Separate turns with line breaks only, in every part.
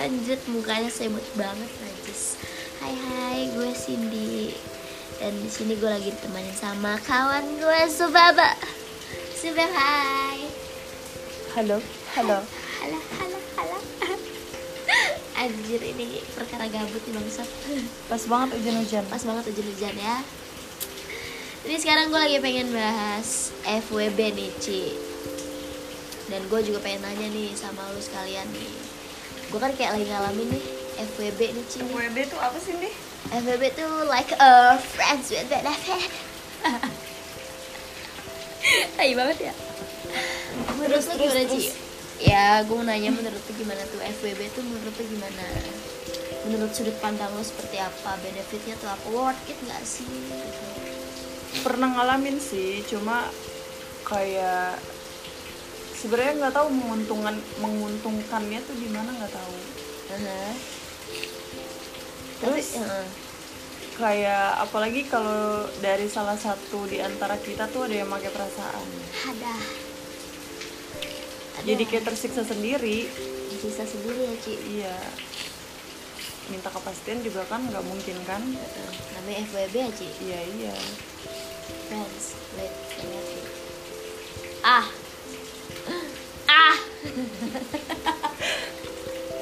Anjir mukanya sebut banget najis Hai hai gue Cindy Dan di sini gue lagi ditemenin sama kawan gue Subaba Subab hai
Halo, halo.
Halo halo halo Anjir ini perkara gabut nih bangsat
Pas banget hujan-hujan.
Pas banget hujan-hujan ya Ini sekarang gue lagi pengen bahas FWB nih Ci Dan gue juga pengen nanya nih sama lu sekalian nih Gue kan kayak lagi ngalamin nih FWB nih Ci nih.
WB tuh apa sih, Ndi?
FWB tuh like a friends with benefit Tai banget ya Menurut
Terus,
lu
terus,
gimana Ci?
terus.
Ya gue mau nanya menurut lu gimana tuh FWB tuh menurut lu gimana? Menurut sudut pandang lu seperti apa? Benefitnya tuh apa? Worth it gak sih? Gitu.
Pernah ngalamin sih, cuma kayak sebenarnya nggak tahu menguntungkan menguntungkannya tuh di mana nggak tahu. Terus
Tapi, heeh.
kayak apalagi kalau dari salah satu di antara kita tuh ada yang pakai perasaan.
ada Iya.
Jadi kayak tersiksa sendiri.
bisa sendiri ya Ci
Iya. Minta kepastian juga kan nggak mungkin kan?
Heeh. namanya FWB ya Ci
Iya iya.
friends with benefit ah ah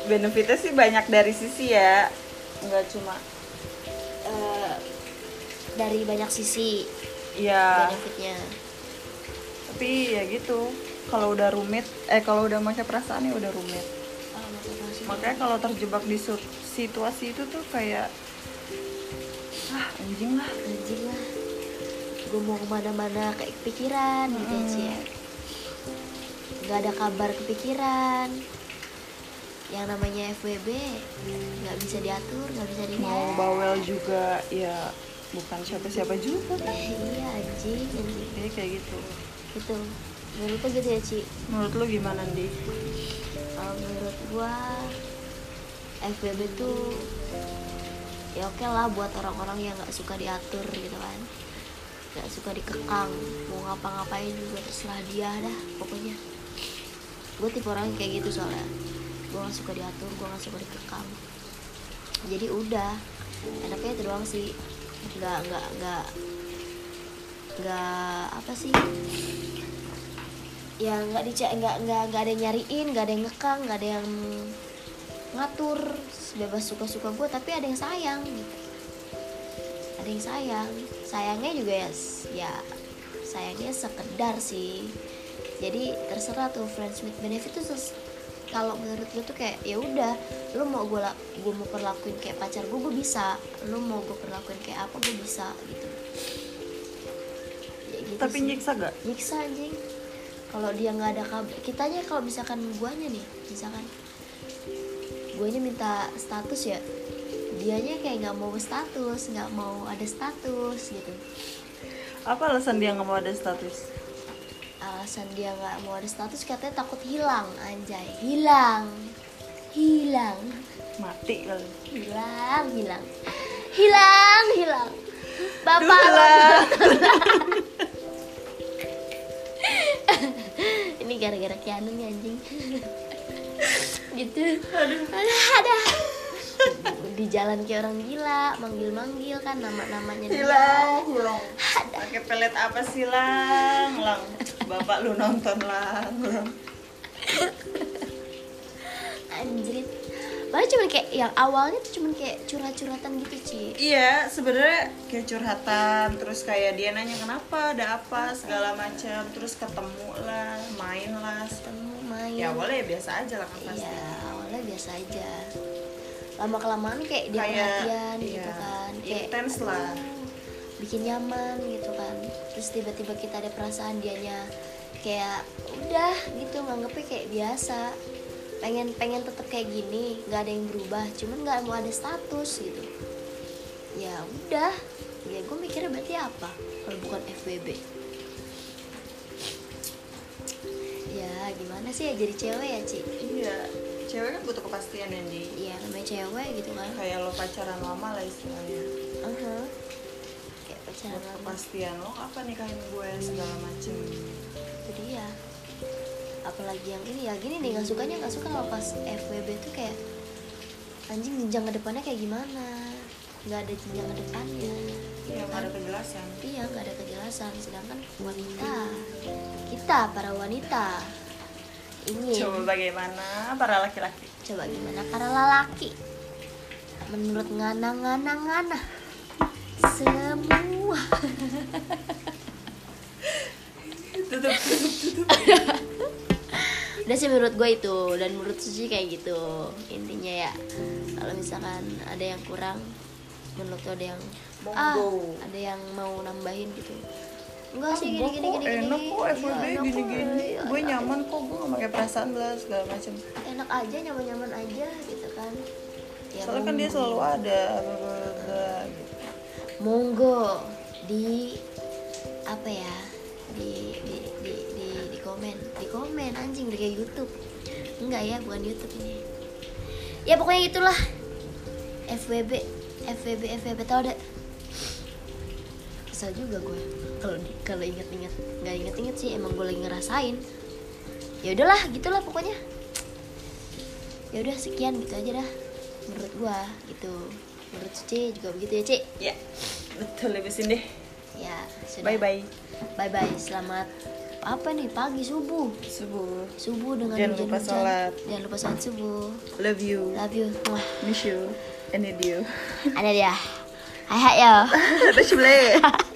Benefitnya sih banyak dari sisi ya. Nggak cuma
Eh, dari banyak sisi
Iya,
benefitnya
tapi ya gitu. Kalau udah rumit, eh kalau udah pakai perasaan ya udah rumit.
Oh, maksud lo sih.
Makanya kalau terjebak di su- situasi itu tuh kayak ah anjing lah.
anjing lah gue mau kemana-mana kayak kepikiran gitu ya Ci ya nggak ada kabar kepikiran yang namanya FWB nggak bisa diatur nggak bisa
Mau
dilihat
bawel juga ya bukan siapa-siapa juga. kan.
Eh, iya anjing anjing
Jadi kayak gitu.
gitu menurut lo gitu ya Ci
Menurut lu gimana Ndi?
Kalau menurut gua FBB tuh ya oke lah buat orang-orang yang nggak suka diatur gitu kan nggak suka dikekang mau ngapa-ngapain juga terserah dia dah pokoknya gue tipe orang yang kayak gitu soalnya gue nggak suka diatur gue nggak suka dikekang jadi udah enaknya itu doang sih nggak nggak nggak nggak apa sih ya nggak dicek nggak nggak nggak ada yang nyariin nggak ada yang ngekang nggak ada yang ngatur bebas suka suka gue tapi ada yang sayang gitu ada yang sayang sayangnya juga ya, s- ya sayangnya sekedar sih jadi terserah tuh friends with benefit tuh ses- kalau menurut gue tuh kayak ya udah lu mau gue gue mau perlakuin kayak pacar gue gue bisa lu mau gue perlakuin kayak apa gue bisa gitu Ya gitu
Tapi
sih
nyiksa gak?
nyiksa anjing kalau dia nggak ada kabar kitanya kalau misalkan guanya nih misalkan guanya minta status ya dianya kayak nggak mau status nggak mau ada status gitu
Apa alasan dia nggak mau ada status?
alasan dia nggak mau ada status katanya takut hilang anjay hilang hilang
Mati kali.
hilang hilang hilang hilang bapak
Duh, lah.
ini gara-gara Keanu nih anjing gitu aduh ada ada di jalan kayak orang gila manggil-manggil kan nama-namanya dia.
Hilang, hilang. Pakai pelet apa sih lang? Lang. Bapak lu nonton lang. lang.
anjrit padahal cuman kayak yang awalnya tuh cuman kayak curhat-curhatan gitu Ci
Iya, sebenarnya kayak curhatan, terus kayak dia nanya kenapa, ada apa, segala macam, terus ketemu lah, main lah.
ketemu main
Ya awalnya ya biasa aja lah kan pasti.
iya awalnya biasa aja lama kelamaan kayak dia
Kayak,
perhatian
iya,
gitu kan kayak
intens lah.
bikin nyaman gitu kan terus tiba-tiba kita ada perasaan dianya kayak udah gitu nganggepnya kayak biasa pengen pengen tetap kayak gini nggak ada yang berubah cuman nggak mau ada status gitu ya udah ya gue mikirnya berarti apa kalau bukan FBB ya gimana sih ya jadi cewek ya Ci
Iya, cewek kan butuh kepastian ya, Di.
ya namanya cewek gitu kan
Kayak lo pacaran lama lah istilahnya.
Uh-huh. kayak
Iya.
pacaran lama
Kepastian lo apa nikahin gue segala macem.
itu dia apalagi yang ini ya gini nih nggak sukanya nggak suka kalau pas FWB tuh kayak anjing jenjang ke depannya kayak gimana nggak ada jenjang ke depannya gitu
ya nggak
kan.
ada penjelasan
Iya, nggak ada kejelasan. Sedangkan wanita, kita para wanita ingin
coba bagaimana para laki-laki
coba gimana para lelaki. Menurut ngana ngana ngana semua
tutup tutup tutup
udah sih menurut gue itu dan menurut Suci kayak gitu intinya ya kalau misalkan ada yang kurang menurut lo ada yang ah,
Monggo.
ada yang mau nambahin gitu enggak sih gini
Gua
gini
kok
gini gini.
Kan enak kok
Iya,
FWB
enak kok,
gini-gini
iya,
gue
enak. Iya.
nyaman kok gue gak pakai perasaan lah segala macam
enak aja nyaman-nyaman aja gitu kan ya
soalnya kan dia
monggo.
selalu ada bla, bla, bla, bla, gitu.
monggo di apa ya di di di di, di komen di komen anjing di kayak YouTube enggak ya bukan YouTube ini ya pokoknya itulah FWB FWB FWB tau deh kesel juga gue kalau di- kalau inget-inget nggak inget-inget sih emang gue lagi ngerasain ya udahlah gitulah pokoknya ya udah sekian gitu aja dah menurut gue gitu menurut Ci juga begitu ya Ci
ya betul lebisin deh
ya sudah
bye bye
bye bye selamat apa nih pagi subuh
subuh
subuh dengan
Jangan
hujan
lupa
hujan
sholat.
jangan lupa sholat subuh
love you
love you Mwah.
miss you and need you
ada dia hai hai yo
Terus boleh.